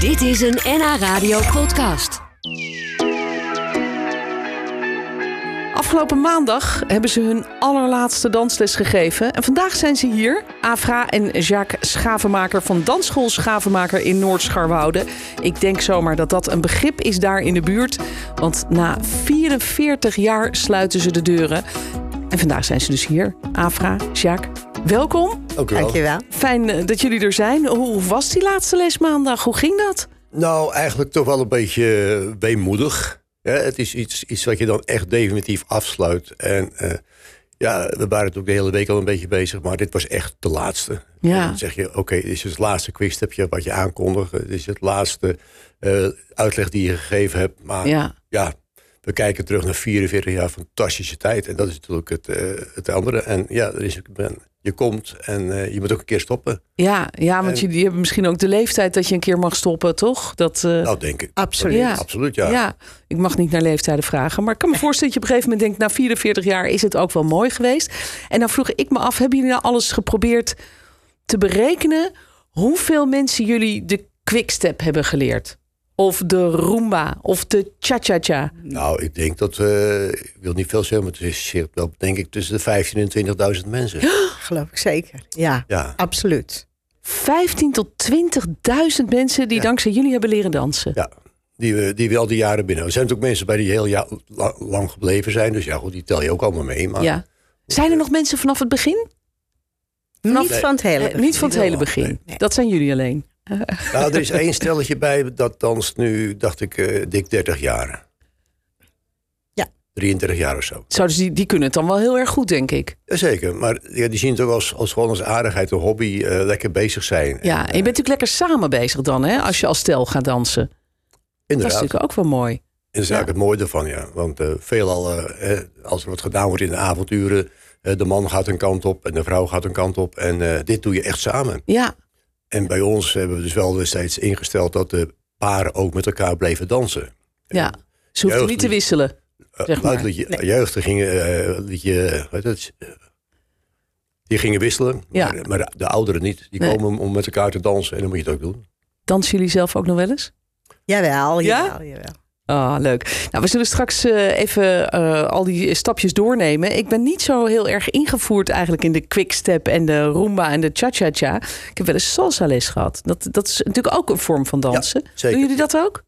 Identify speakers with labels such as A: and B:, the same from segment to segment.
A: Dit is een NH Radio podcast.
B: Afgelopen maandag hebben ze hun allerlaatste dansles gegeven. En vandaag zijn ze hier, Afra en Jacques Schavenmaker van Dansschool Schavenmaker in Noord-Scharwoude. Ik denk zomaar dat dat een begrip is daar in de buurt. Want na 44 jaar sluiten ze de deuren. En vandaag zijn ze dus hier, Afra, Jacques. Welkom.
C: Dank u wel.
D: Dankjewel.
B: Fijn eh, dat jullie er zijn. Hoe was die laatste les maandag? Hoe ging dat?
C: Nou, eigenlijk toch wel een beetje eh, weemoedig. Ja, het is iets, iets wat je dan echt definitief afsluit. En eh, ja, we waren natuurlijk de hele week al een beetje bezig, maar dit was echt de laatste.
B: Ja.
C: En dan zeg je, oké, dit is het laatste quickstepje wat je aankondigt. Dit is het laatste eh, uitleg die je gegeven hebt. Maar ja.
B: Ja,
C: we kijken terug naar 44 jaar fantastische tijd. En dat is natuurlijk het, eh, het andere. En ja, er is, men- je komt en eh, je moet ook een keer stoppen.
B: ja, ja want
C: En-
B: jullie hebben misschien ook de leeftijd dat je een keer mag stoppen, toch? Dat, eh,
C: Nou, denk ik.
D: Absoluut.
B: Ja.
C: Absoluut,
B: Ja. ik mag niet naar leeftijden vragen. Maar ik kan me voorstellen dat je op een gegeven moment denkt... na 44 jaar is het ook wel mooi geweest. En dan vroeg ik me af, hebben jullie nou alles geprobeerd te berekenen... hoeveel mensen jullie de quickstep hebben geleerd? Of de Roomba, of de cha-cha-cha.
C: Nou, ik denk dat, eh, ik wil niet veel zeggen, maar het is zeer- wel, denk ik tussen de 15.000 en 20.000 mensen.
D: Geloof ik zeker. Ja,
C: Ja,
D: absoluut.
B: 15 tot 20.000 mensen die
C: Ja.
B: dankzij jullie hebben leren dansen.
C: ja. Die, we, die we al die jaren binnen. Er zijn natuurlijk mensen bij die heel ja- la- lang gebleven zijn. Dus ja, goed, die tel je ook allemaal mee. Maar
B: Ja. Zijn er nog mensen vanaf het begin?
D: Niet van het hele.
B: Eh, niet van het
C: niet
B: hele
C: allemaal,
B: begin.
D: nee.
B: Dat zijn jullie alleen.
C: Nou, er is één stelletje bij, dat danst nu, dacht ik, eh, dik 30 jaar.
D: Ja.
C: 33 jaar of zo.
B: Zo, dus die, die kunnen het dan wel heel erg goed, denk ik.
C: Jazeker, maar ja, die zien het ook als, als gewoon als aardigheid, een hobby, eh, lekker bezig zijn.
B: Ja, en je bent
C: eh,
B: natuurlijk lekker samen bezig dan, hè? Als je als stel gaat dansen. Dat is
C: eh, Inderdaad.
B: natuurlijk ook wel mooi.
C: En dat
B: Ja.
C: is eigenlijk het mooie ervan, ja. Want eh, veelal, eh, eh, als er wat gedaan wordt in de avonturen... eh, de man gaat een kant op en de vrouw gaat een kant op. En eh, dit doe je echt samen.
B: Ja,
C: En bij ons hebben we dus wel steeds ingesteld... dat de paren ook met elkaar bleven dansen.
B: ja. Ze hoeft niet te
C: Jeugdlied.
B: wisselen.
C: Eh,
B: Zeg maar.
C: luid liedje- Jeugd gingen, eh, liedje, eh, wat is het? die gingen wisselen,
B: Ja.
C: maar, eh, maar de, de ouderen niet. Die
B: Nee.
C: komen om- om met elkaar te dansen en dan moet je het ook doen.
B: Dansen jullie zelf ook nog wel eens?
D: Jawel,
B: Ja?
D: jawel, jawel.
B: Ah, leuk. Nou, we zullen straks eh, even eh, al die stapjes doornemen. Ik ben niet zo heel erg ingevoerd eigenlijk in de quickstep en de rumba en de cha-cha-cha. Ik heb wel eens salsa les gehad. Dat, dat is natuurlijk ook een vorm van dansen.
C: zeker.
B: Doen jullie dat ook?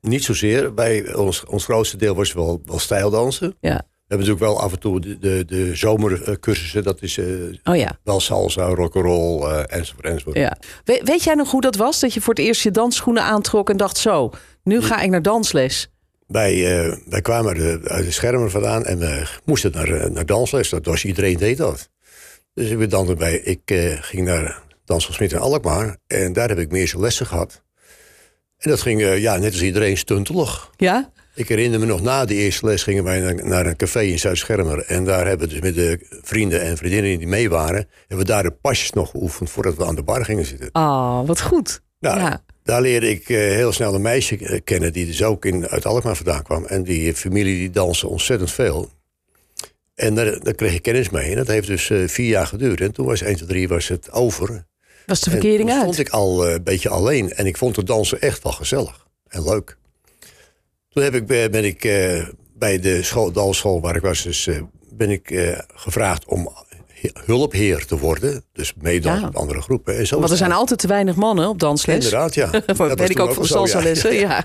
C: Niet zozeer. Bij ons, ons grootste deel was wel, wel stijldansen.
B: Ja.
C: We hebben natuurlijk wel af en toe de, de, de zomercursussen. Dat is eh,
B: Oh ja.
C: wel salsa, rock'n'roll eh enzovoort enzovoort.
B: ja. We- weet jij nog hoe dat was? Dat je voor het eerst je dansschoenen aantrok en dacht zo, nu ga ik naar dansles.
C: Wij, eh, wij kwamen uit de, uit de schermen vandaan en we moesten naar, eh, naar dansles. Dat was iedereen deed dat. Dus we dansen bij. Ik eh, ging naar Dansel Smit in Alkmaar. En daar heb ik mijn eerste lessen gehad. En dat ging, eh, ja, net als iedereen, stuntelig.
B: Ja?
C: Ik herinner me nog na de eerste les gingen wij naar, naar een café in Zuid-Schermer. En daar hebben we dus met de vrienden en vriendinnen die mee waren... hebben we daar de pasjes nog geoefend voordat we aan de bar gingen zitten.
B: Ah, wat goed.
C: Nou,
B: Ja.
C: daar leerde ik eh, heel snel een meisje eh, kennen... die dus ook in, uit Alkmaar vandaan kwam. En die familie die danste ontzettend veel. En daar, daar kreeg ik kennis mee. En dat heeft dus eh, vier jaar geduurd. En toen was 1, 2, 3 was het over.
B: Was de verkering
C: en toen
B: uit?
C: stond ik al eh, een beetje alleen. En ik vond het dansen echt wel gezellig en leuk. Toen heb ik, eh, ben ik eh, bij de school, dansschool waar ik was... Dus, eh, ben ik eh, gevraagd om he- hulpheer te worden. Dus meedansen
B: Ja.
C: met andere groepen. En zo
B: Want
C: is
B: er
C: het
B: zijn altijd te weinig mannen op dansles.
C: Inderdaad, ja. Dat was
B: Dat weet ik
C: toen
B: ook van
C: al zo, ja.
B: salsa-lessen. Ja.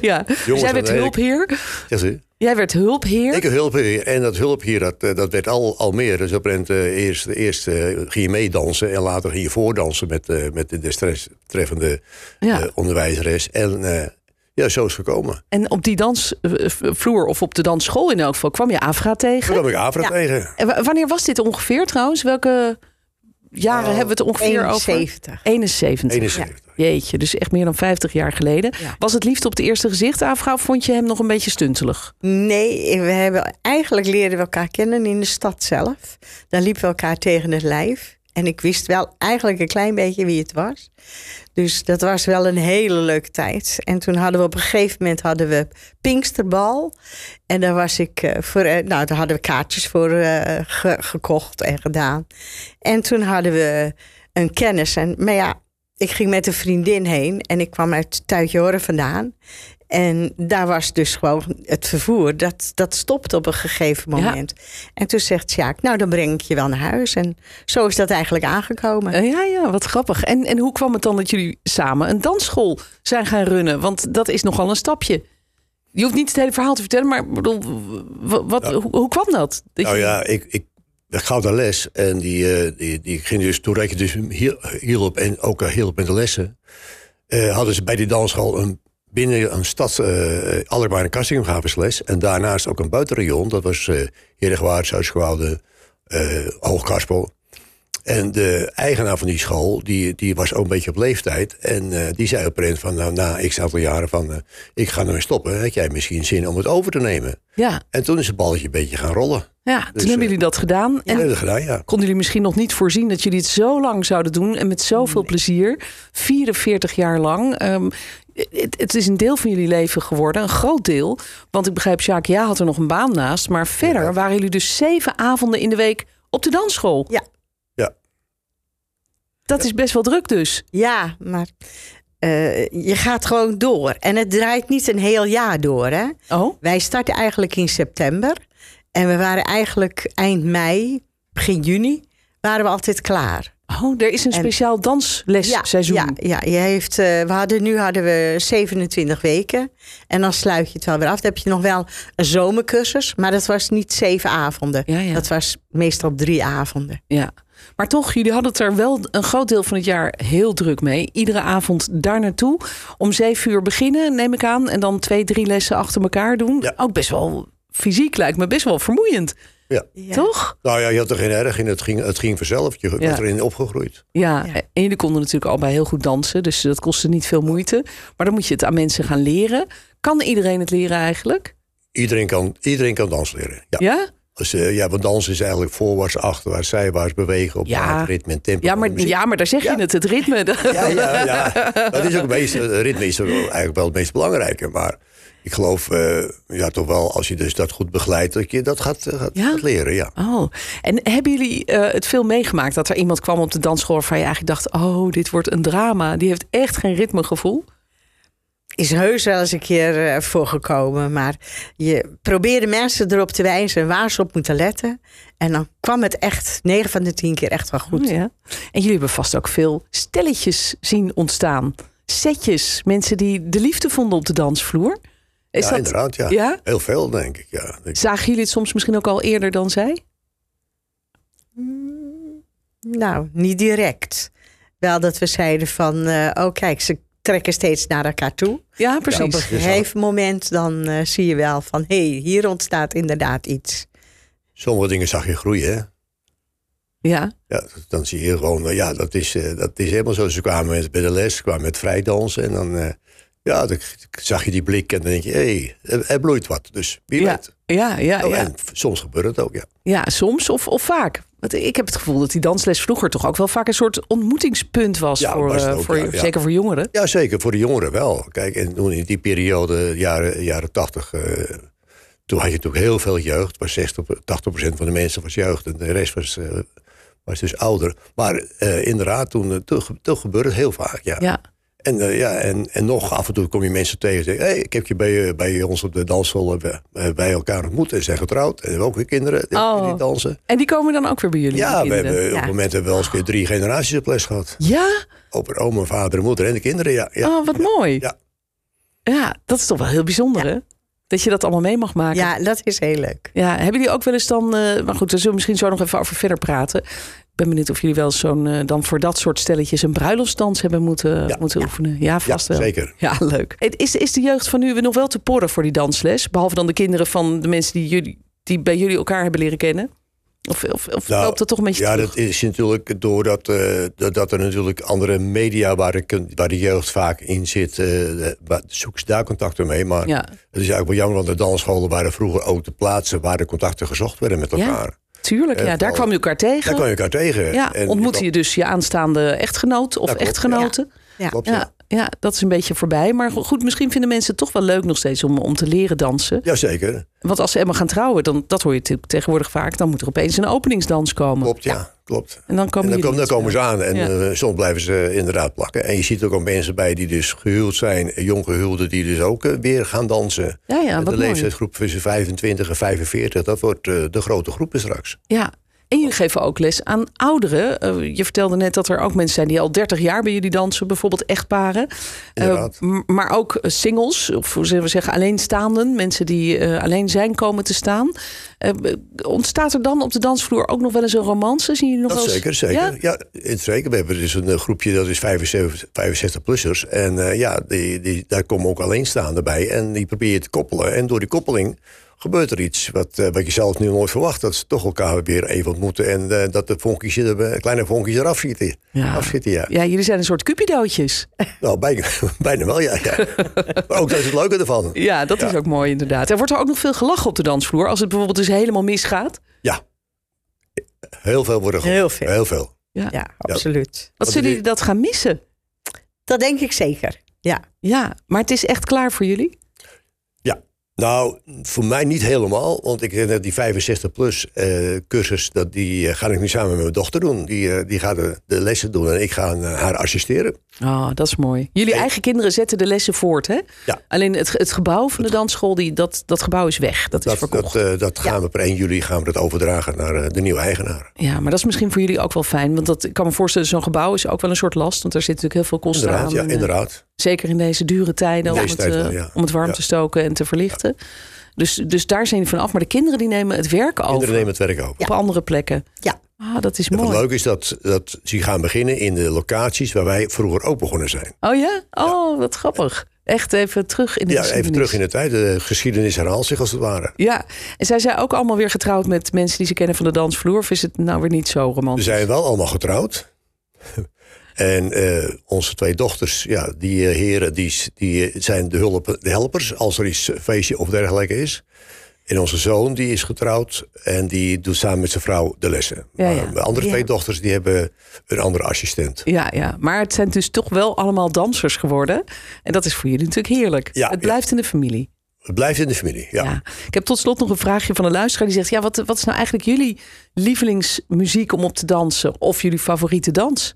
B: Ja. Dus jij
C: aan
B: werd
C: de ene
B: hulpheer.
C: Ja, zie je.
B: Jij werd hulpheer.
C: Ik heb hulp hier. En dat hulp hier, dat, eh, dat werd al, al meer. Dus op een gegeven moment, eh, eerst, eerst eh, ging je meedansen en later ging je voordansen met, eh, met de desbetreffende
B: Ja.
C: onderwijzeres. eh, En eh, ja, zo is het gekomen.
B: En op die dansvloer of op de dansschool in elk geval kwam je Afra
C: Toen
B: tegen.
C: kwam ik Afra
D: Ja.
C: tegen.
B: En wa- wanneer was dit ongeveer trouwens? Welke jaren
C: Nou,
B: hebben we het ongeveer over?
D: 71.
B: 71.
C: 71.
B: Jeetje, dus echt meer dan 50 jaar geleden.
D: Ja.
B: Was het liefst op het eerste gezicht, Afra, of vond je hem nog een beetje stuntelig?
D: Nee, we hebben, eigenlijk leerden we elkaar kennen in de stad zelf. Daar liepen we elkaar tegen het lijf. En ik wist wel eigenlijk een klein beetje wie het was. Dus dat was wel een hele leuke tijd. En toen hadden we op een gegeven moment hadden we Pinksterbal. En daar was ik eh, voor. eh, nou, daar hadden we kaartjes voor eh, ge- gekocht en gedaan. En toen hadden we een kennis. En, maar ja, ik ging met een vriendin heen en ik kwam uit Tuitjoren vandaan. En daar was dus gewoon het vervoer. Dat, dat stopte op een gegeven
B: Ja.
D: moment. En toen zegt Sjaak, nou dan breng ik je wel naar huis. En zo is dat eigenlijk aangekomen.
B: Eh, Ja, ja, wat grappig. En, en hoe kwam het dan dat jullie samen een dansschool zijn gaan runnen? Want dat is nogal een stapje. Je hoeft niet het hele verhaal te vertellen, maar ik bedoel, wa- wat, hoe, hoe kwam dat? Dat
C: Nou
B: je-
C: ja, ik, ik, ik gaf daar les en die, eh, die, die ging dus, toen ik dus hiel- hielp en ook eh, hielp met de lessen, eh, hadden ze bij die dansschool een, binnen een stad eh Alkmaar en Kastingum gaven ze les. En daarnaast ook een buitenrayon, dat was eh Heerdegewaard, Zuid-Schouwde, eh Hoogkarspel. En de eigenaar van die school, die, die was ook een beetje op leeftijd. En eh, die zei op een gegeven moment van, nou, na x aantal jaren van, eh, ik ga ermee stoppen. Had jij misschien zin om het over te nemen?
B: ja,
C: En toen is het balletje een beetje gaan rollen.
B: ja, toen hebben
C: eh,
B: jullie dat gedaan. En
C: Ja. dat gedaan, ja.
B: konden jullie misschien nog niet voorzien dat jullie het zo lang zouden doen en met zoveel plezier. 44 jaar lang. Ehm, het, het is een deel van jullie leven geworden, een groot deel. Want ik begrijp, Sjaak, ja had er nog een baan naast. Maar verder
C: Ja.
B: waren jullie dus zeven avonden in de week op de dansschool.
D: Ja.
C: Ja.
B: Dat is best wel druk dus.
D: Ja, maar eh, je gaat gewoon door. En het draait niet een heel jaar door. Hè?
B: Oh,
D: Wij starten eigenlijk in september. En we waren eigenlijk eind mei, begin juni, waren we altijd klaar.
B: oh er is een
D: En-
B: speciaal danslesseizoen.
D: Ja, ja, je heeft, eh, we hadden, nu hadden we 27 weken. En dan sluit je het wel weer af. Dan heb je nog wel een zomercursus. Maar dat was niet zeven avonden.
B: Ja, ja.
D: Dat was meestal drie avonden.
B: Ja. Maar toch, jullie hadden het er wel een groot deel van het jaar heel druk mee. Iedere avond daar naartoe. Om zeven uur beginnen, neem ik aan. En dan twee, drie lessen achter elkaar doen.
C: Ja.
B: Ook best wel fysiek lijkt me best wel vermoeiend.
C: ja.
B: Toch?
C: Nou ja, je had er geen erg in. Het ging, het ging vanzelf. Je
B: Ja.
C: werd erin opgegroeid.
B: Ja,
D: Ja.
B: en jullie konden natuurlijk allebei heel goed dansen. Dus dat kostte niet veel moeite. Maar dan moet je het aan mensen gaan leren. Kan iedereen het leren eigenlijk?
C: Iedereen kan, iedereen kan dans leren. Ja.
B: Ja?
C: Dus, eh, ja, want dansen is eigenlijk voorwaarts, achterwaarts, zijwaarts bewegen op
B: Ja.
C: maat, ritme en tempo.
B: Ja,
C: van
B: maar,
C: de muziek.
B: ja, maar daar zeg je
C: Ja.
B: het, het ritme.
C: ja, ja, ja. Dat is ook het meest, het ritme is er eigenlijk wel het meest belangrijke. Maar ik geloof eh, ja, toch wel, als je dus dat goed begeleidt, dat je dat gaat, eh, gaat,
B: Ja?
C: gaat leren. Ja.
B: Oh, en hebben jullie eh, het veel meegemaakt dat er iemand kwam op de dansschool waarvan je eigenlijk dacht: oh, dit wordt een drama. Die heeft echt geen ritmegevoel.
D: Is heus wel eens een keer eh, voorgekomen. Maar je probeerde mensen erop te wijzen waar ze op moeten letten. En dan kwam het echt negen van de tien keer echt wel goed.
B: Oh, ja. En jullie hebben vast ook veel stelletjes zien ontstaan. Setjes, mensen die de liefde vonden op de dansvloer. Is
C: ja,
B: dat,
C: inderdaad. Ja.
B: Ja?
C: Heel veel, denk ik. Ja. Ik-
B: Zagen jullie het soms misschien ook al eerder dan zij?
C: Mm.
D: Nou, niet direct. Wel dat we zeiden van, eh, oh kijk, ze trekken steeds naar elkaar toe. Dus
B: Ja,
D: Op
B: precies.
D: een gegeven moment dan eh, zie je wel van, hé, hey, hier ontstaat inderdaad iets.
C: Sommige dingen zag je groeien. Hè?
B: Ja,
C: Ja, dan zie je gewoon, nou ja, dat is, eh, dat is helemaal zo. Ze kwamen met, bij de les, ze kwamen met vrijdansen. En dan, eh, ja, dan k- k- zag je die blik en dan denk je, hé, er, er bloeit wat. Dus wie
B: ja.
C: weet.
B: ja, ja,
C: Oh,
B: ja.
C: En f- soms gebeurt het ook, ja.
B: Ja, soms of, of vaak. Want ik heb het gevoel dat die dansles vroeger toch ook wel vaak een soort ontmoetingspunt was.
C: Ja,
B: voor,
C: was het
B: eh,
C: ook,
B: voor,
C: ja, ja.
B: Zeker voor jongeren.
C: Ja, zeker, voor de jongeren wel. Kijk, en toen in die periode, jaren, jaren 80, eh, toen had je natuurlijk heel veel jeugd. Maar 60, 80% van de mensen was jeugd en de rest was, eh, was dus ouder. Maar eh, inderdaad, toen, eh, toen, ge- toen gebeurde het heel vaak,
B: Ja.
C: En, eh, ja, en, en nog af en toe kom je mensen tegen en zeggen... Hey, ik heb je bij, eh, bij ons op de dansschool eh, bij- eh, bij elkaar ontmoet en zijn getrouwd. En hebben ook weer kinderen die,
B: Oh.
C: die dansen.
B: En die komen dan ook weer bij jullie? die
C: Ja, we
B: kinderen?
C: hebben op
D: Ja.
C: het moment hebben we wel eens weer drie generaties op les gehad.
B: Ja?
C: Opa, oma, vader, moeder en de kinderen, ja. ja.
B: Oh, wat mooi. Ja.
C: Ja.
B: dat is toch wel heel bijzonder, hè? Dat je dat allemaal mee mag maken.
D: Ja, dat is heel leuk.
B: Ja, hebben jullie ook wel eens dan... eh, maar goed, daar zullen we misschien zo nog even over verder praten. Ik ben benieuwd of jullie wel eens zo'n... eh, dan voor dat soort stelletjes een bruiloftsdans hebben moeten,
C: Ja.
B: moeten oefenen. Ja,
C: Ja,
B: vast wel.
C: zeker.
B: Ja, leuk. Het Is, is de jeugd van nu nog wel te porren voor die dansles? Behalve dan de kinderen van de mensen die, jullie, die bij jullie elkaar hebben leren kennen? Of, of, of
C: Nou,
B: loopt dat toch een beetje
C: Ja,
B: terug?
C: dat is natuurlijk doordat eh, dat, dat er natuurlijk andere media... waar de, kun- waar de jeugd vaak in zit, eh, de- waar- zoek ze daar contacten mee. Maar
B: Ja,
C: het is eigenlijk wel jammer, want de dansscholen waren vroeger ook de plaatsen... waar de contacten gezocht werden met
B: Ja.
C: elkaar.
B: tuurlijk. Ja,
C: Eh,
B: daar
C: vooral-
B: kwam je elkaar tegen.
C: Daar kwam je elkaar tegen.
B: Ja,
C: En
B: ontmoette je dus je aanstaande echtgenoot of
C: Dat klopt, ja.
B: echtgenote.
D: Ja.
C: Klopt,
B: Ja.
C: ja.
B: ja, dat is een beetje voorbij. Maar go- goed, misschien vinden mensen het toch wel leuk nog steeds om, om te leren dansen.
C: Jazeker,
B: Want als ze helemaal gaan trouwen, dan, dat hoor je natuurlijk tegenwoordig vaak. Dan moet er opeens een openingsdans komen.
C: klopt, ja, klopt.
B: En dan
C: En
B: komen,
C: dan,
B: jullie
C: kom- dan
B: met-
C: komen ze aan en
B: Ja.
C: eh, soms blijven ze inderdaad plakken. En je ziet ook al mensen bij die dus gehuwd zijn, jong gehuwden, die dus ook eh, weer gaan dansen.
B: Ja, ja,
C: de
B: wat mooi.
C: leeftijdsgroep tussen 25 en 45, dat wordt eh, de grote groepen straks.
B: Ja. En jullie geven ook les aan ouderen. Eh, je vertelde net dat er ook mensen zijn die al 30 jaar bij jullie dansen, bijvoorbeeld echtparen. Eh,
C: Inderdaad.
B: m- maar ook eh, singles, of hoe zullen we zeggen, alleenstaanden, mensen die eh, alleen zijn komen te staan. Eh, b- ontstaat er dan op de dansvloer ook nog wel eens een romance? Zien jullie nog
C: Dat
B: wel eens-
C: zeker, zeker.
B: Ja?
C: Ja? het zeker. We hebben dus een eh, groepje, dat is 65-plussers. En eh, ja, die, die, daar komen ook alleenstaanden bij. En die probeer je te koppelen. En door die koppeling gebeurt er iets wat, eh, wat je zelf nu nooit verwacht. Dat ze toch elkaar weer even ontmoeten. En eh, dat de vonkjes, er, eh, kleine vonkjes eraf schieten.
B: Ja.
C: Afschieten, ja.
B: Ja, jullie zijn een soort cupidootjes.
C: Nou, bijna, bijna wel, ja. ja. maar ook dat is het leuke ervan.
B: Ja, dat is ook mooi inderdaad. Er wordt er ook nog veel gelachen op de dansvloer als het bijvoorbeeld dus helemaal misgaat.
C: Ja. Heel veel worden geholpen.
D: Heel veel.
B: Eh,
C: Heel veel.
D: Ja, absoluut.
B: Wat
C: Wat
B: zullen
C: die-
B: jullie dat gaan missen?
D: Dat denk ik zeker. Ja.
B: Ja, maar het is echt klaar voor jullie?
C: Nou, voor mij niet helemaal. Want ik denk dat die 65-plus eh, cursus, dat die eh, ga ik nu samen met mijn dochter doen. Die, eh, die gaat de, de lessen doen en ik ga eh, haar assisteren.
B: Oh, dat is mooi. Jullie
C: Hey.
B: eigen kinderen zetten de lessen voort, hè?
C: Ja.
B: Alleen het, het gebouw van de dansschool, die, dat, dat gebouw is weg. Dat, is
C: Dat,
B: verkocht.
C: dat, eh, dat gaan we per 1 juli gaan we dat overdragen naar eh, de nieuwe eigenaar.
B: Ja, maar dat is misschien voor jullie ook wel fijn. Want dat, ik kan me voorstellen, zo'n gebouw is ook wel een soort last. Want er zit natuurlijk heel veel kosten
C: Inderdaad,
B: aan.
C: ja,
B: En, eh,
C: inderdaad.
B: Zeker in deze dure tijden
C: Deze
B: om, het,
C: tijd wel,
B: eh,
C: ja.
B: om het warm
C: Ja.
B: te stoken en te verlichten. Dus, dus daar zijn jullie van af. Maar de kinderen die nemen het werk over
C: Kinderen nemen het werk over.
B: op andere plekken.
D: Ja.
B: Ah, dat is
C: En
B: mooi.
C: wat leuk is dat, dat ze gaan beginnen in de locaties waar wij vroeger ook begonnen zijn.
B: Oh ja? Oh, wat grappig. Echt even terug in de
C: Ja, even
B: geschiedenis.
C: terug in de tijd. De geschiedenis herhaalt zich als het ware.
B: Ja, en zij zijn ook allemaal weer getrouwd met mensen die ze kennen van de dansvloer? Of is het nou weer niet zo
C: We
B: romantisch?
C: zijn wel allemaal getrouwd. En eh, onze twee dochters, ja, die eh, heren, die, s- die eh, zijn de, hulp, de helpers als er iets eh, feestje of dergelijke is. En onze zoon, die is getrouwd en die doet samen met zijn vrouw de lessen.
B: Ja, ja.
C: Maar de andere twee
D: Ja.
C: dochters, die hebben een andere assistent.
B: Ja, ja, maar het zijn dus toch wel allemaal dansers geworden. En dat is voor jullie natuurlijk heerlijk.
C: Ja,
B: het blijft in de familie.
C: Het blijft in de familie, ja.
B: Ja. Ik heb tot slot nog een vraagje van een luisteraar die zegt: Ja, wat, wat is nou eigenlijk jullie lievelingsmuziek om op te dansen? Of jullie favoriete dans?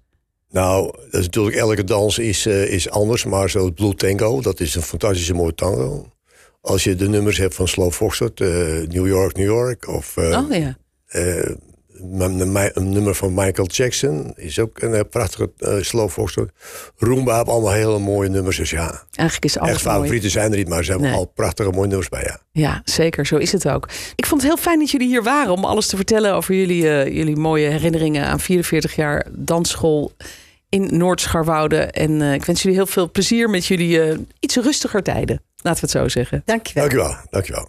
C: Nou, dat is natuurlijk elke dans is, eh, is anders, maar zoals Blue Tango, dat is een fantastische mooie tango. Als je de nummers hebt van Slow Foxtrot, eh, New York, New York of... eh,
B: oh ja.
C: Eh, m- m- mi- een nummer van Michael Jackson is ook een eh, prachtige eh, slow foxtrot. Roomba hebben allemaal hele mooie nummers. Dus ja,
B: Eigenlijk is alles
C: echt
B: mooi.
C: favorieten zijn er niet, maar er zijn
B: Nee.
C: al prachtige mooie nummers bij. Ja.
B: Ja, zeker. Zo is het ook. Ik vond het heel fijn dat jullie hier waren om alles te vertellen over jullie, eh, jullie mooie herinneringen aan 44 jaar dansschool in Noord-Scharwoude. En eh, ik wens jullie heel veel plezier met jullie eh, iets rustiger tijden. Laten we het zo zeggen.
D: Dankjewel.
C: Dankjewel, dankjewel.